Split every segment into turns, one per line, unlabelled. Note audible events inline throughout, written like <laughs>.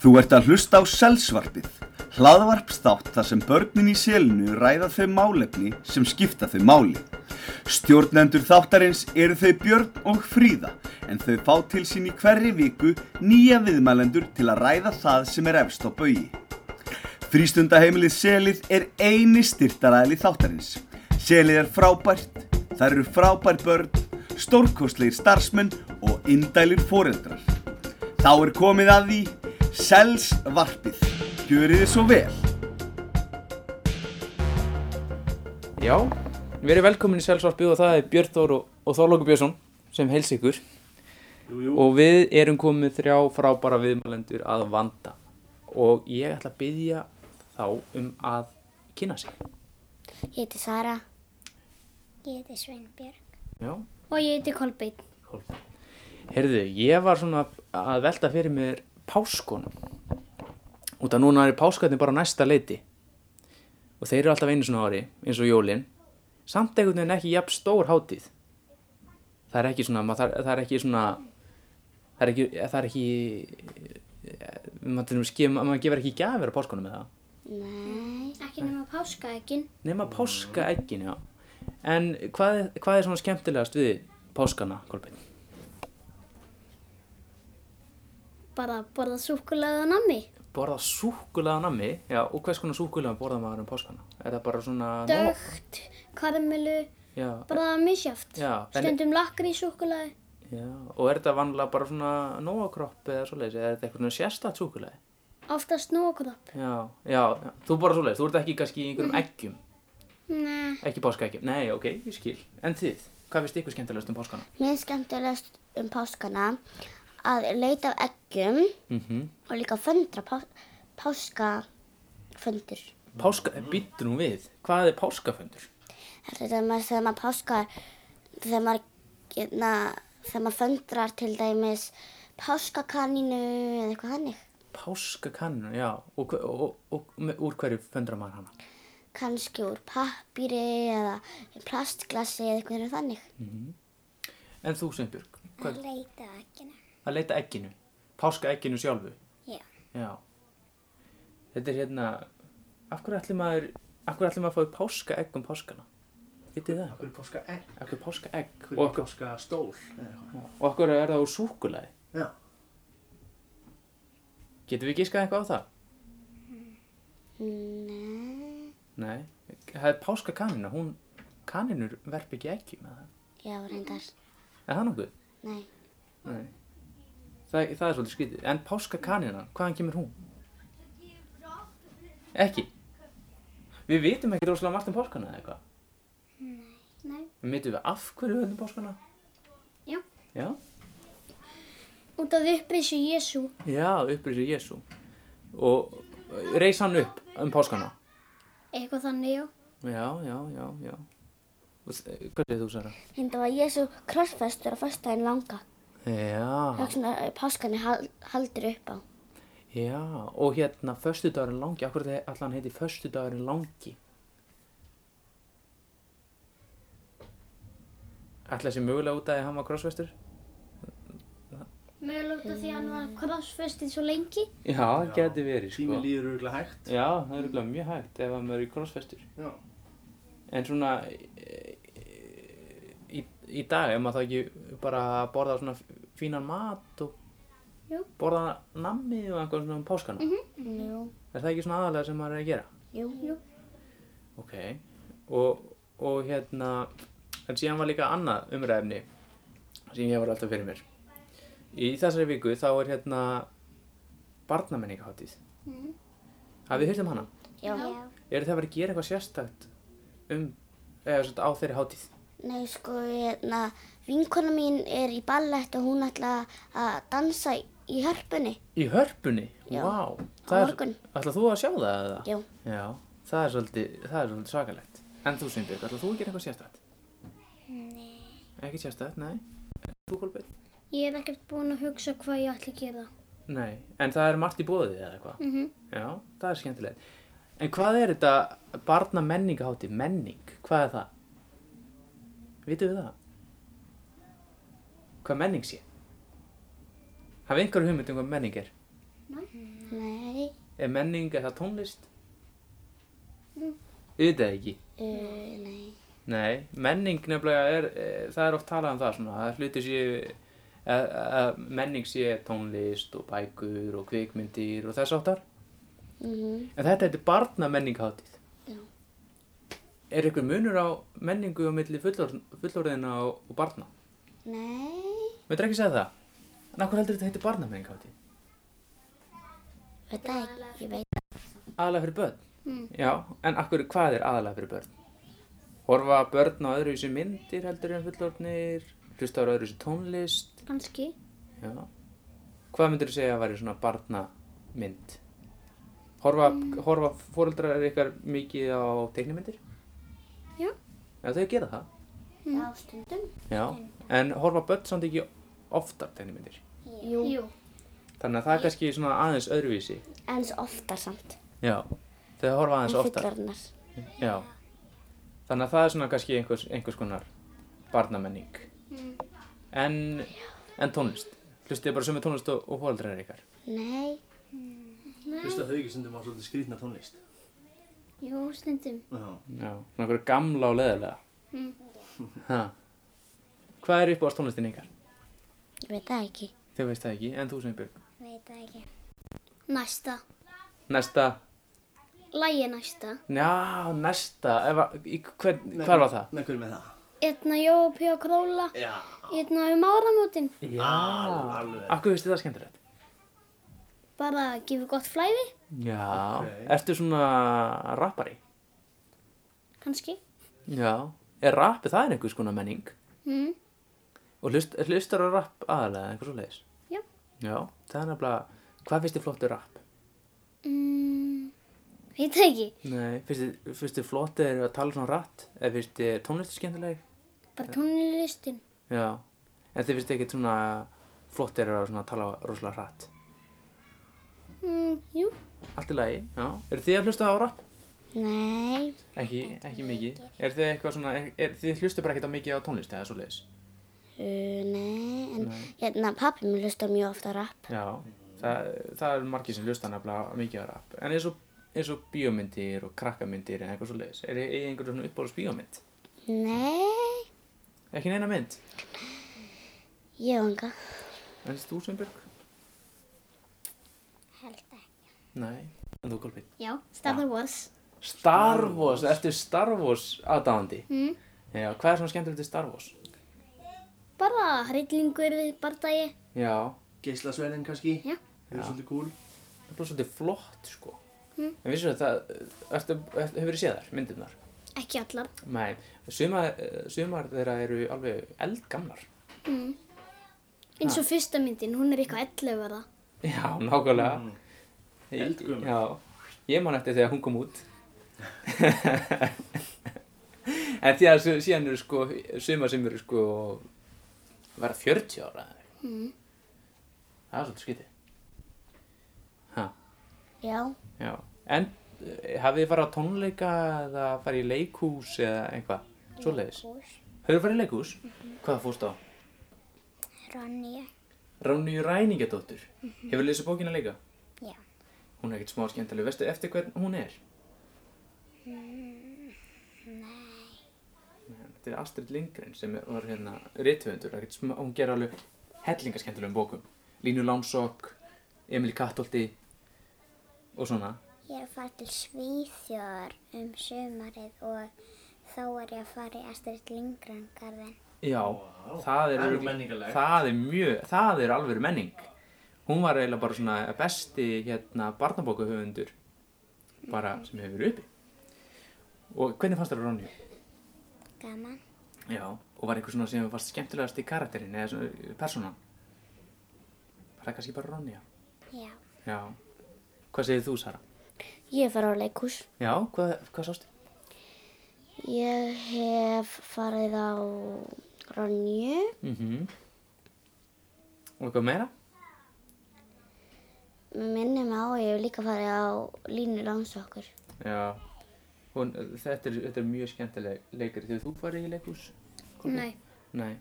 Þú ert að hlusta á Selsvarpið, hlaðvarpstátt þar sem börnin í selinu ræða þau málefni sem skipta þau máli. Stjórnendur þáttarins eru þau Björn og Fríða, en þau fá til sín í hverri viku nýja viðmælendur til að ræða það sem er efst á bögi. Frístundaheimilið Selið er eini styrtaræðli þáttarins. Selið er frábært, það eru frábær börn, stórkostlegir starfsmenn og indælir foreldrar. Þá er komið að því Selsvarpið. Gjörið þið svo vel.
Já, við erum velkomin í Selsvarpið og það er Björn Þór og, og Þorlóku Björnsson sem heils ykkur jú, jú. og við erum komið með þrjá frábara viðmælendur að vanda og ég ætla að byggja þá um að kynna sig.
Ég heiti Sara. Ég heiti Sveinbjörg.
Já,
Og ég heiti Kolbeinn.
hólpa. Herðu, ég var svona að velta fyrir mér páskunum út að núna eru páskarnir bara á næsta leiti og þeir eru alltaf einu svona ári eins og jólin samt einhvern veginn ekki jafn stór hátíð það er ekki svona maður þarf- það er ekki svona það er ekki það er ekki eh, maður, til dæmis gef- maður gefur ekki gjafir á páskunum með það
Nei. Ekki nema páskaegin.
nema páska já en hvað, er- hvað er svona skemmtilegast við páskana Kolbeinn?
Bara að borða súkulega og nammi.
Borða súkulega nammi, já, og hvers konar súkulega borða maður um páskana? Er það bara svona...
Dögt, karmelu,
Já,
bara misjáft.
Já, en-
Stundum lakkar í súkulega.
já, og er þetta vanlega bara svona nóakropp eða svoleiðis, eða er þetta eitthvað sérstætt súkulega?
Oftast nógróp.
Já, já, já, þú borða svoleiðis, þú ert ekki kannski í einhverjum eggjum,
Mm. Nei.
ekki páskaeggjum, nei, ok, ég skil. En þið, hvað finnst ykkur skemmtilegast um páskana?
Mér er skemmtilegast um páskana að leita af eggjum
Mhm. Mm
og líka föndra pá, páskaföndur.
Páska, býttu nú við, hvað er páskaföndur?
Þetta er þegar maður, þegar maður páskar, þegar maður, getna, þegar maður föndrar til dæmis páskakaninu eða eitthvað hannig.
Páskakannu, já, og, hve- og, og, og með, úr hverju föndra maður hana?
Kanski úr pappýri eða plastglasi eða eitthvað þannig.
En þú, Sveinbjörg, hvað,
Leita eginu.
að leita egginu, páskaegginu sjálfu?
Já.
Já. Þetta er hérna, af hverju ætlum maður, af hverju ætlum maður að fá páska egg um páskana? Vitið þið það?
Akkur páska egg,
Af hverju páska egg? Og
akkur
af hverju-
páska stól eða eitthvað.
og af hverju er það úr súkulæði?
Já.
Getum við gískað eitthvað á það?
Nei,
Nei. Það er páska kanina, hún, kaninur verp ekki eggi með það.
já reyndar,
Er það nokkuð?
nei.
Nei. Það, það er svolítið skrítið. En páska kanina, hvaðan kemur hún? Ekki? Við vitum ekki rosalega margt um páskana eða eitthvað.
Nei.
Við vitum við af hverju við höldum páskana?
Já.
Já.
Út af upprisu Jésu.
Já, upprisu Jésu og reys hann upp um páskana
Eitthvað þannig, já.
Já, já, já, já Og s- Hvað segir þú, Sara?
Þetta var Jésu krossfestur á föstudaginn langa.
Já,
Þjóksna páskani eh, hal, haldur upp á.
já og hérna, föstudagurinn langi Akkur er allan heiti föstudagurinn langi Ætla þessi mögulega út að því hann var krossvestur?
Mögulega út af því að hann var krossfestið svo lengi.
Já, geti verið,
Tími
sko
líður örgulega hægt.
Já, það er örugglega mjög hægt ef hann verið krossvestur
Já.
En svona e, í, í dag, ef maður þá ekki bara að borða svona fínan mat og
Jú.
borða nammi og eitthvað svona um páskana.
Jú,
Er það ekki svona aðalega sem maður er að gera?
jú.
Ok. Og, og hérna, en síðan var líka annað umræðefni sem ég var alltaf fyrir mér. Í þessari viku þá er hérna barnamenningaháttið. Mm.
Mhm.
Hafið þið hýrt um hana?
Já.
Eru það verið að gera eitthvað sérstakt um, eða svona á þeirri hátíð?
Nei, sko, hérna, vinkona mín er í ballett og hún ætla að dansa í hörpunni.
Í hörpunni?
Já,
Vá.
á morgun.
Ætlað þú að sjá það eða?
Jú.
Já, það er svolítið, það er svolítið svakalegt. En þú, Sveinbjörg, ætlað þú að gera eitthvað sérstætt? Nei. Ekki sérstætt, nei. En Þú, Kolbjörn?
Ég er ekkert búin að hugsa hvað ég ætla að gera.
Nei, en það er margt í bóðið eða eitthvað?
Mhm.
Já, það er skemmtilegt. En hvað er þetta barna menningahátti, menning? Hvað er það? Vitum við það? Hvað menning sé? Hafið einhverju hugmynd um hvað menning er?
Nei.
Er menning, er það tónlist? Auðvitað ekki.
Uh, nei.
Nei, menning nefnilega er, eh, það er oft talað um það svona, að hluti sé, að, að e, menning sé tónlist og bækur og kvikmyndir og þess áttar.
Mm
En þetta heitir barna menningháttið.
Já.
Er ykkur munur á menningu á milli fullorð, fullorðina og, og barna?
Nei.
Möndur ekki segja það? En akkur heldur þetta heitir barna menningháttið?
Veit það ekki, ég veit.
Aðalega fyrir börn? Mm. Já, en akkur hvað er aðalega fyrir börn? Horfa börn á öðru í sér myndir heldur en fullorðnir, hlusta á öðru í sér tónlist,
Ganski.
Já. Hvað myndir þú segja að væri svona barnamynd? Horfa, horfa fóreldrar ykkar mikið á teiknimyndir?
Já.
Já, þau gera það.
Já, stundum.
Já. En horfa börn samt ekki oftar teiknimyndir.
Jú.
Jú.
Þannig að það er kannski svona aðeins öðruvísi.
Eins oftar samt.
Já. Þau horfa aðeins oftar.
Fullarnar.
Já. Þannig að það er svona kannski einhvers, einhvers konar barnamenning. En, en tónlist. Hlustið bara sömu tónlist og, og fóreldrar ykkar.
Nei.
Hlusta þau ekki stundum á svolítið skrýtna tónlist?
Jú, stundum.
Já.
Já, svona einhverja gamla og leðilega. Ha. Hvað er upp á tónlistin ykkar?
Ég veit það ekki.
Þau veist það ekki, en þú sem björg.
Veit það ekki. Næsta.
Næsta,
Lægi næsta.
já, næsta, ef, að- í, hver, hver var það?
Nei, hver er með það?
Einna Jópi og Króla.
Já.
Einna um áramótin.
Já,
alveg.
akkur veistu það skemmtilegt?
Bara gefið gott flæði.
Já,
Ok.
ertu svona rappari?
Kanski.
Já, er rappi það er einhvers konar menning?
Mm.
Og hlust, hlustar á rapp aðalega, einhvers svo leiðis?
Já.
Já, það er nefnilega, hvað finnst þið flottu rapp?
Mm. Veit það ekki.
Nei, finnst þið- finnst þið flottu að tala svona rætt? Eða finnst þið tónlistu skemmtileg?
Bara tónlistin.
Já, en þið finnst ekkert svona flottir að svona tala rosalega hratt.
Mm. Jú.
Allt í lagi, já. Eru þið að hlusta á rapp?
Nei.
Ekki, ekki mikið. Er þið eitthvað svona, er, þið hlustu bara ekkert á mikið á tónlist eða svo leiðis?
Uh, nei. En hérna pappi minn hlusta mjög ofta á rap.
Já, það, það er margir sem hlusta nefnilega mikið á rapp. En eins og, eins og bíómyndir og krakkamyndir eða eitthvað svo leiðis, er þið einhverjum svona uppbóðs bíómynd?
Nei.
Ekki neina mynd?
Ég vanga.
En þú sem byrg?
Held ekki.
Nei, en þú Kolbjörn?
Já. Star Wars.
Star Wars, ertu Star Wars aðdáðandi?
Mm.
Já, hvað er svona skemmtilegt við Star Wars?
Bara hryllingur, bardagi.
Já,
Geislasverðin kannski?
Já.
Það er svolítið cool.
Það er bara svolítið flott, sko. En vissum við það, ertu, ertu, hefur þið séð þar, myndirnar?
Ekki allar.
Nei, sumar, eh, sumar þeirra eru alveg eldgamlar.
Eins og fyrsta myndin, hún er eitthvað 11 ára.
Já, nákvæmlega.
Mm.
Ég-
Eldgömul.
Já, ég man eftir þegar hún kom út. <laughs> en því að su- síðan eru sko, sumar sem eru sko, verða 40 ára. Mm. Það er svolítið skytið. Hæ?
Já.
Já, en eh, hafið þið farið á tónleika eða farið í leikhús eða eitthvað? Svoleiðis. Hefur þið farið í leikhús? Hvað fórst á?
Ronja.
Ránu Ræningadóttur. Hefur lesið bókina líka?
Já.
Hún er ekkert smá skemmtileg. Veistu eftir hvern hún er? Mm, nei. Þetta er Astrid Lindgren sem er- var hérna rithöfundur. Ekkert smá, hún ger alveg hellingaskemmtilegum bókum. Línu Lámsokk, Emil Kattolti og svona.
Ég er að fara til Svíþjóðar um sumarið og þá er ég að fara í Astrid Lindgren garðin.
Já, það er,
Það er
örugglega-
menningarlegt.
Það er mjög, það er alveg menning. Hún var eiginlega bara svona besti hérna barnabókahöfundur bara sem hefur verið uppi. Og hvernig fannst þér Ronju?
Gaman.
Já, og var einhver svona sem fannst skemmtilegast í karakterin eða svona persónan? Var það kannski bara Ronja?
Já.
Já. Hvað segir þú, Sara?
Ég hef farið á leikhús.
Já, hvað, hvað sástu?
Ég hef farið á Ronju.
Mhm. Og eitthvað meira?
Minni mig á, að ég hef líka farið á Línu Langsokkur.
Já. Hún, þetta, er, þetta er mjög skemmtileg leikari. Þegar þú farið í leikhús?
Nei.
Nei.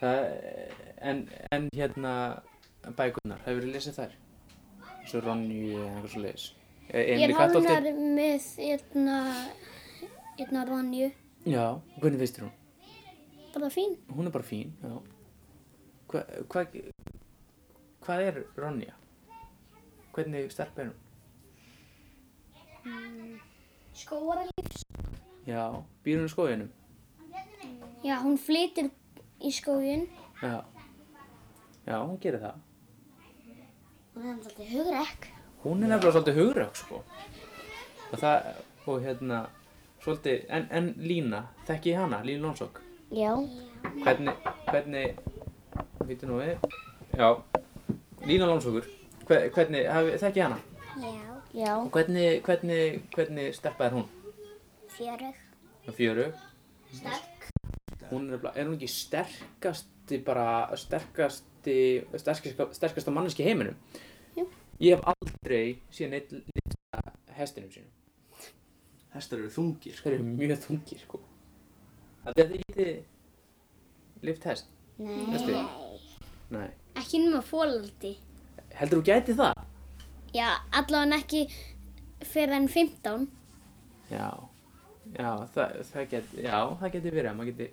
Það, en, en hérna bækurnar, hefur þið lesið þær? svo Ronju eða eitthvað svo leiðis
Ég er
Emil
nánar
Kattolti
með einna, einna Ronju.
Já, hvernig finnst þér hún?
Bara fín.
Hún er bara fín, já Hva, hva, Hvað er Ronja? Hvernig stelp er hún?
Skóaralíf?
Já, býr hún í skóginum?
Já, hún flytir í skógin.
Já Já, hún gerir það
Hún er þannig svolítið hugrekk.
Hún er nefnilega svolítið hugrökk sko Og það, og hérna Svolítið, en, en Lína Þekki ég hana, Lína Lónsok
Já,
Hvernig, hvernig Vítu nú við Já, Lína Lónsokur Hver, Hvernig, hafi- þekki ég hana
Já,
já,
Og hvernig, hvernig, hvernig steppa er hún?
fjörug.
Hún er Fjöru Sterk Hún er nefnilega, er hún ekki sterkasti bara Sterkasti Sterkasta, sterkasta manneski í heiminum
Jú.
Ég hef aldrei síðan eitt lista hestinum sínum
Hestar eru þungir. sko.
Þeir eru mjög þungir sko Það er þetta ekki Lift hest
nei,
Hesti Nei
Ekki nema fólaldi.
Heldur þú gæti það?
Já, allavega ekki fyrir enn 15.
Já Já, það, það geti, já, það geti verið að maður geti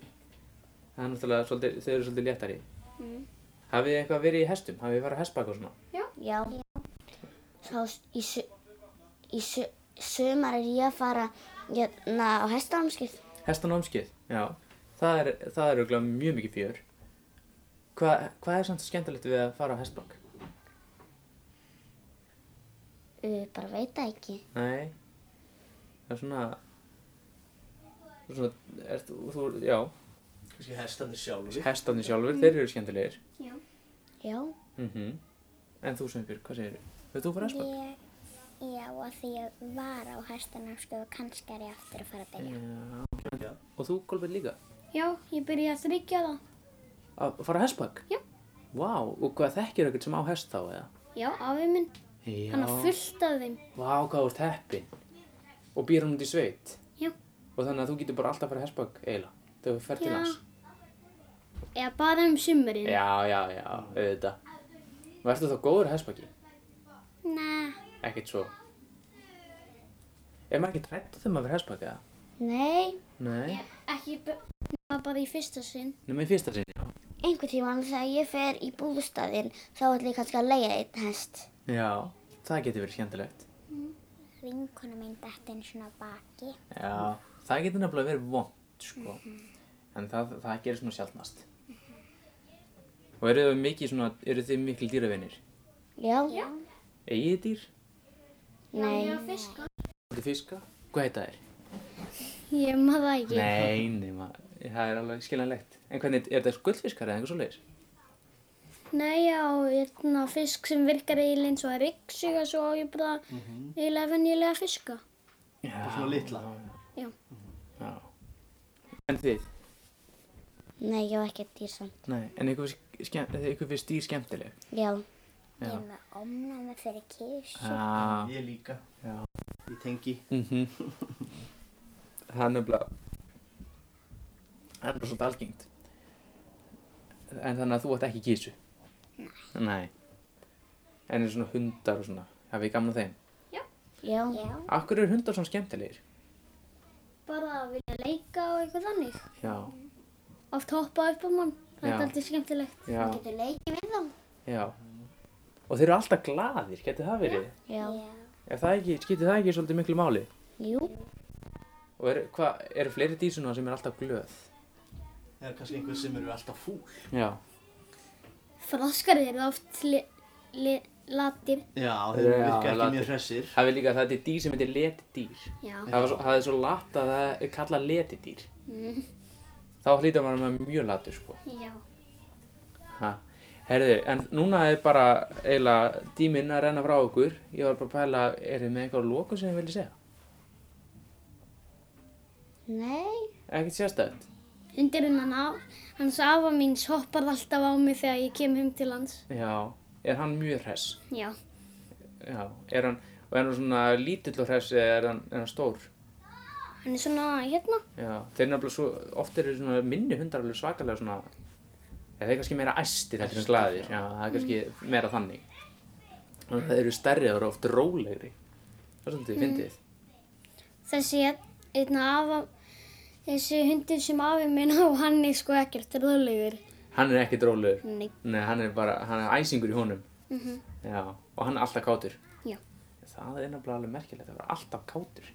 Það er náttúrulega svolítið, þau eru svolítið léttari mm. Hafið þið eitthvað verið í hestum? Hafið þið farið að hestbaka og svona?
já. Þá s- í, su, í su, sumar er ég að fara hérna á hestanámskið.
Hestanámskið, já. Það er, það er auðvitað mjög mikið fjör. Hva, hvað er samt skemmtilegt við að fara á hestbakk?
Uh, bara veit það ekki.
Nei, það er svona, svona, er, þú, þú, já,
Kanski hestarnir sjálfur.
hestarnir sjálfur, þeir eru skemmtilegir.
Já,
Mm En þú Sveinbjörg, hvað segir þú? Hefur þú farið hestbakk?
Ég, já, og því ég var á hæstanámsku og kannski er ég aftur að fara að byrja.
Mm.
Já. Og þú Kolbjörn líka?
Já, ég byrja að þryggja það.
Að fara á hestbakk?
Já.
Vá, og hvað þekkir ekkert sem á hest þá eða?
Já, afi minn.
Já.
Hann á fullt af þeim.
Vá, hvað þú ert heppin. Og býr hann út í sveit.
Já.
Og þannig að þú getur bara alltaf að fara hestbakk eiginlega. Þegar þú fer til
Já.
hans.
Eða bara um sumurinn.
Já, já, já, auðvitað. Værtu þá góður hestbakki?
Næ,
Ekkert svo. Er maður ekki trættu þegar maður verið hestbakki eða?
nei,
Nei.
Ekki b- nema bara í fyrsta sinn.
Nú með fyrsta sinni, já.
einhvern tímann þegar ég fer í búðstæðin þá ætlum ég kannski að leiða einn hest.
Já, það getur verið skemmtilegt.
vinkona mín dætti eins og baki.
Já, það getur nefnilega verið vond, sko. En það, það gerir svona sjálfnast. Og eru þau mikið svona, eru þið mikil dýravinir?
Já,
Egið þið dýr?
nei,
Eru þið fiska? Hvað heita þær?
Ég maður það ekki.
Nei, nei, maður, það er alveg skiljanlegt. En hvernig, er það gullfiskar eða einhver svo leiðis?
Nei, já, hérna fisk sem virkar eiginlega eins og að ryggsuga svo á ég bara eiginlega venjulega fiska.
Já.
Svona litla.
Já.
Já. En þið?
nei, ég var ekki dýr samt.
Nei, en ykkur finnst skemm- eða ykkur finnst dýr skemmtileg?
Já,
Ég er með omnámi fyrir kísu.
Já.
Ég líka.
Já.
Ég tengi.
Mhm. Það er nefnilega, það er nefnilega svolítið algengt. En þannig að þú átt ekki kísu? Nei. Nei. En eru svona hundar og svona, hafið þið gaman af þeim?
já,
Já,
Akkur eru hundar svona skemmtilegir?
Bara að vilja leika og eitthvað þannig.
Já.
Oft hoppa upp á mann. Það
Já.
er alltaf skemmtilegt.
Já.
getur leikið við þá.
Já. Og þeir eru alltaf glaðir, getur það verið?
Já,
já.
Ef það ekki, skiptir það ekki svolítið miklu máli?
jú,
Og eru hva, er fleiri dýr svona sem er alltaf glöð?
Það er kannski einhver sem eru alltaf fúl.
Já.
Froskar eru oft li, li, latir.
Já,
þeir
þeir
virka
virka
ekki
ekki
mjög
mjög hressir.
Það er líka að þetta er dýr sem heitir letidýr.
Já.
Það var svo- það er svo lat að það er kallað letidýr. Þá hlýtur maður að vera mjög latur, sko.
Já.
Ha. Herðu, en núna er bara eiginlega tíminn að renna frá okkur. Ég var bara að pæla, er þið með einhver lóku sem þið viljið segja?
nei,
Ekkert sérstætt?
Undir hennan á, hans afa míns hoppar alltaf á mig þegar ég kem heim til hans.
Já. Er hann mjög hress?
Já.
Já. Er hann, og er hann svona lítill og hress eða er hann, er hann stór?
Hann er svona hérna.
Já, þeir nefnilega svo, oft eru svona minni hundar alveg svakalega svona eða þeir kannski meira æstir heldur en glaðir já, það er kannski meira þannig Þannig að það eru stærri og eru oft rólegri. Það er svolítið fyndið.
Þessi, einna afa, þessi hundur sem afi minn á, hann er sko ekkert röðlegur.
Hann er ekki drólegur.
Nei.
Nei, hann er bara, hann er æsingur í honum. -hmm. Já, og hann er alltaf kátur.
Já.
Það er nefnilega alveg merkilegt að vera alltaf kátur.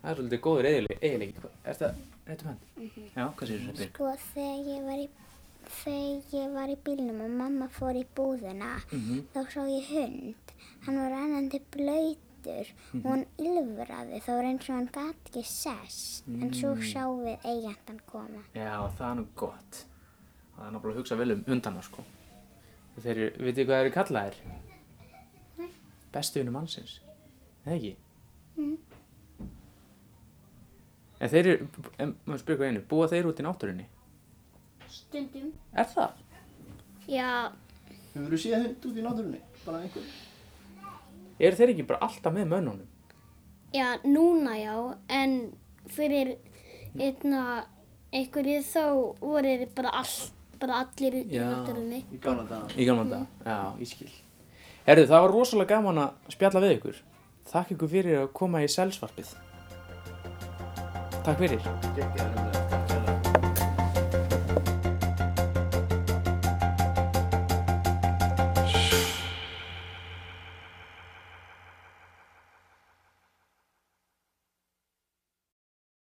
Það er svolítið góður eiginleiki. Er það réttum hand? -hmm. Já, hvað séu þetta byrg?
Sko þegar ég var í, þegar ég var í bílnum og mamma fór í búðina þá sá ég hund. Hann var ennandi blöytur og hann ylfraði. Það var eins og hann gat ekki sess. En svo sá við eigandann koma.
Já, það er nú gott. Það er náttúrulega að hugsa vel um hundana, sko. Þeir eru, veitir þið hvað þeir eru kallaðir? Nei. Bestu vinnu mannsins. Eða ekki? Mm. En þeir eru, en maður spyrir hvað einu, búa þeir út í náttúrunni?
Stundum.
Er það?
Já,
Hefur þú séð hund út í náttúrunni? Bara einhver?
Eru þeir ekki bara alltaf með mönnunum?
já, núna já, en fyrir, einna, einhverju þá voru þeir bara all, bara allir í
Já.
náttúrunni.
Í gamla daga.
Í gamla dag? Já, ég skil. Herðu, það var rosalega gaman að spjalla við ykkur. Takk ykkur fyrir að koma í selsvarpið. Takk fyrir.
Gekk ég að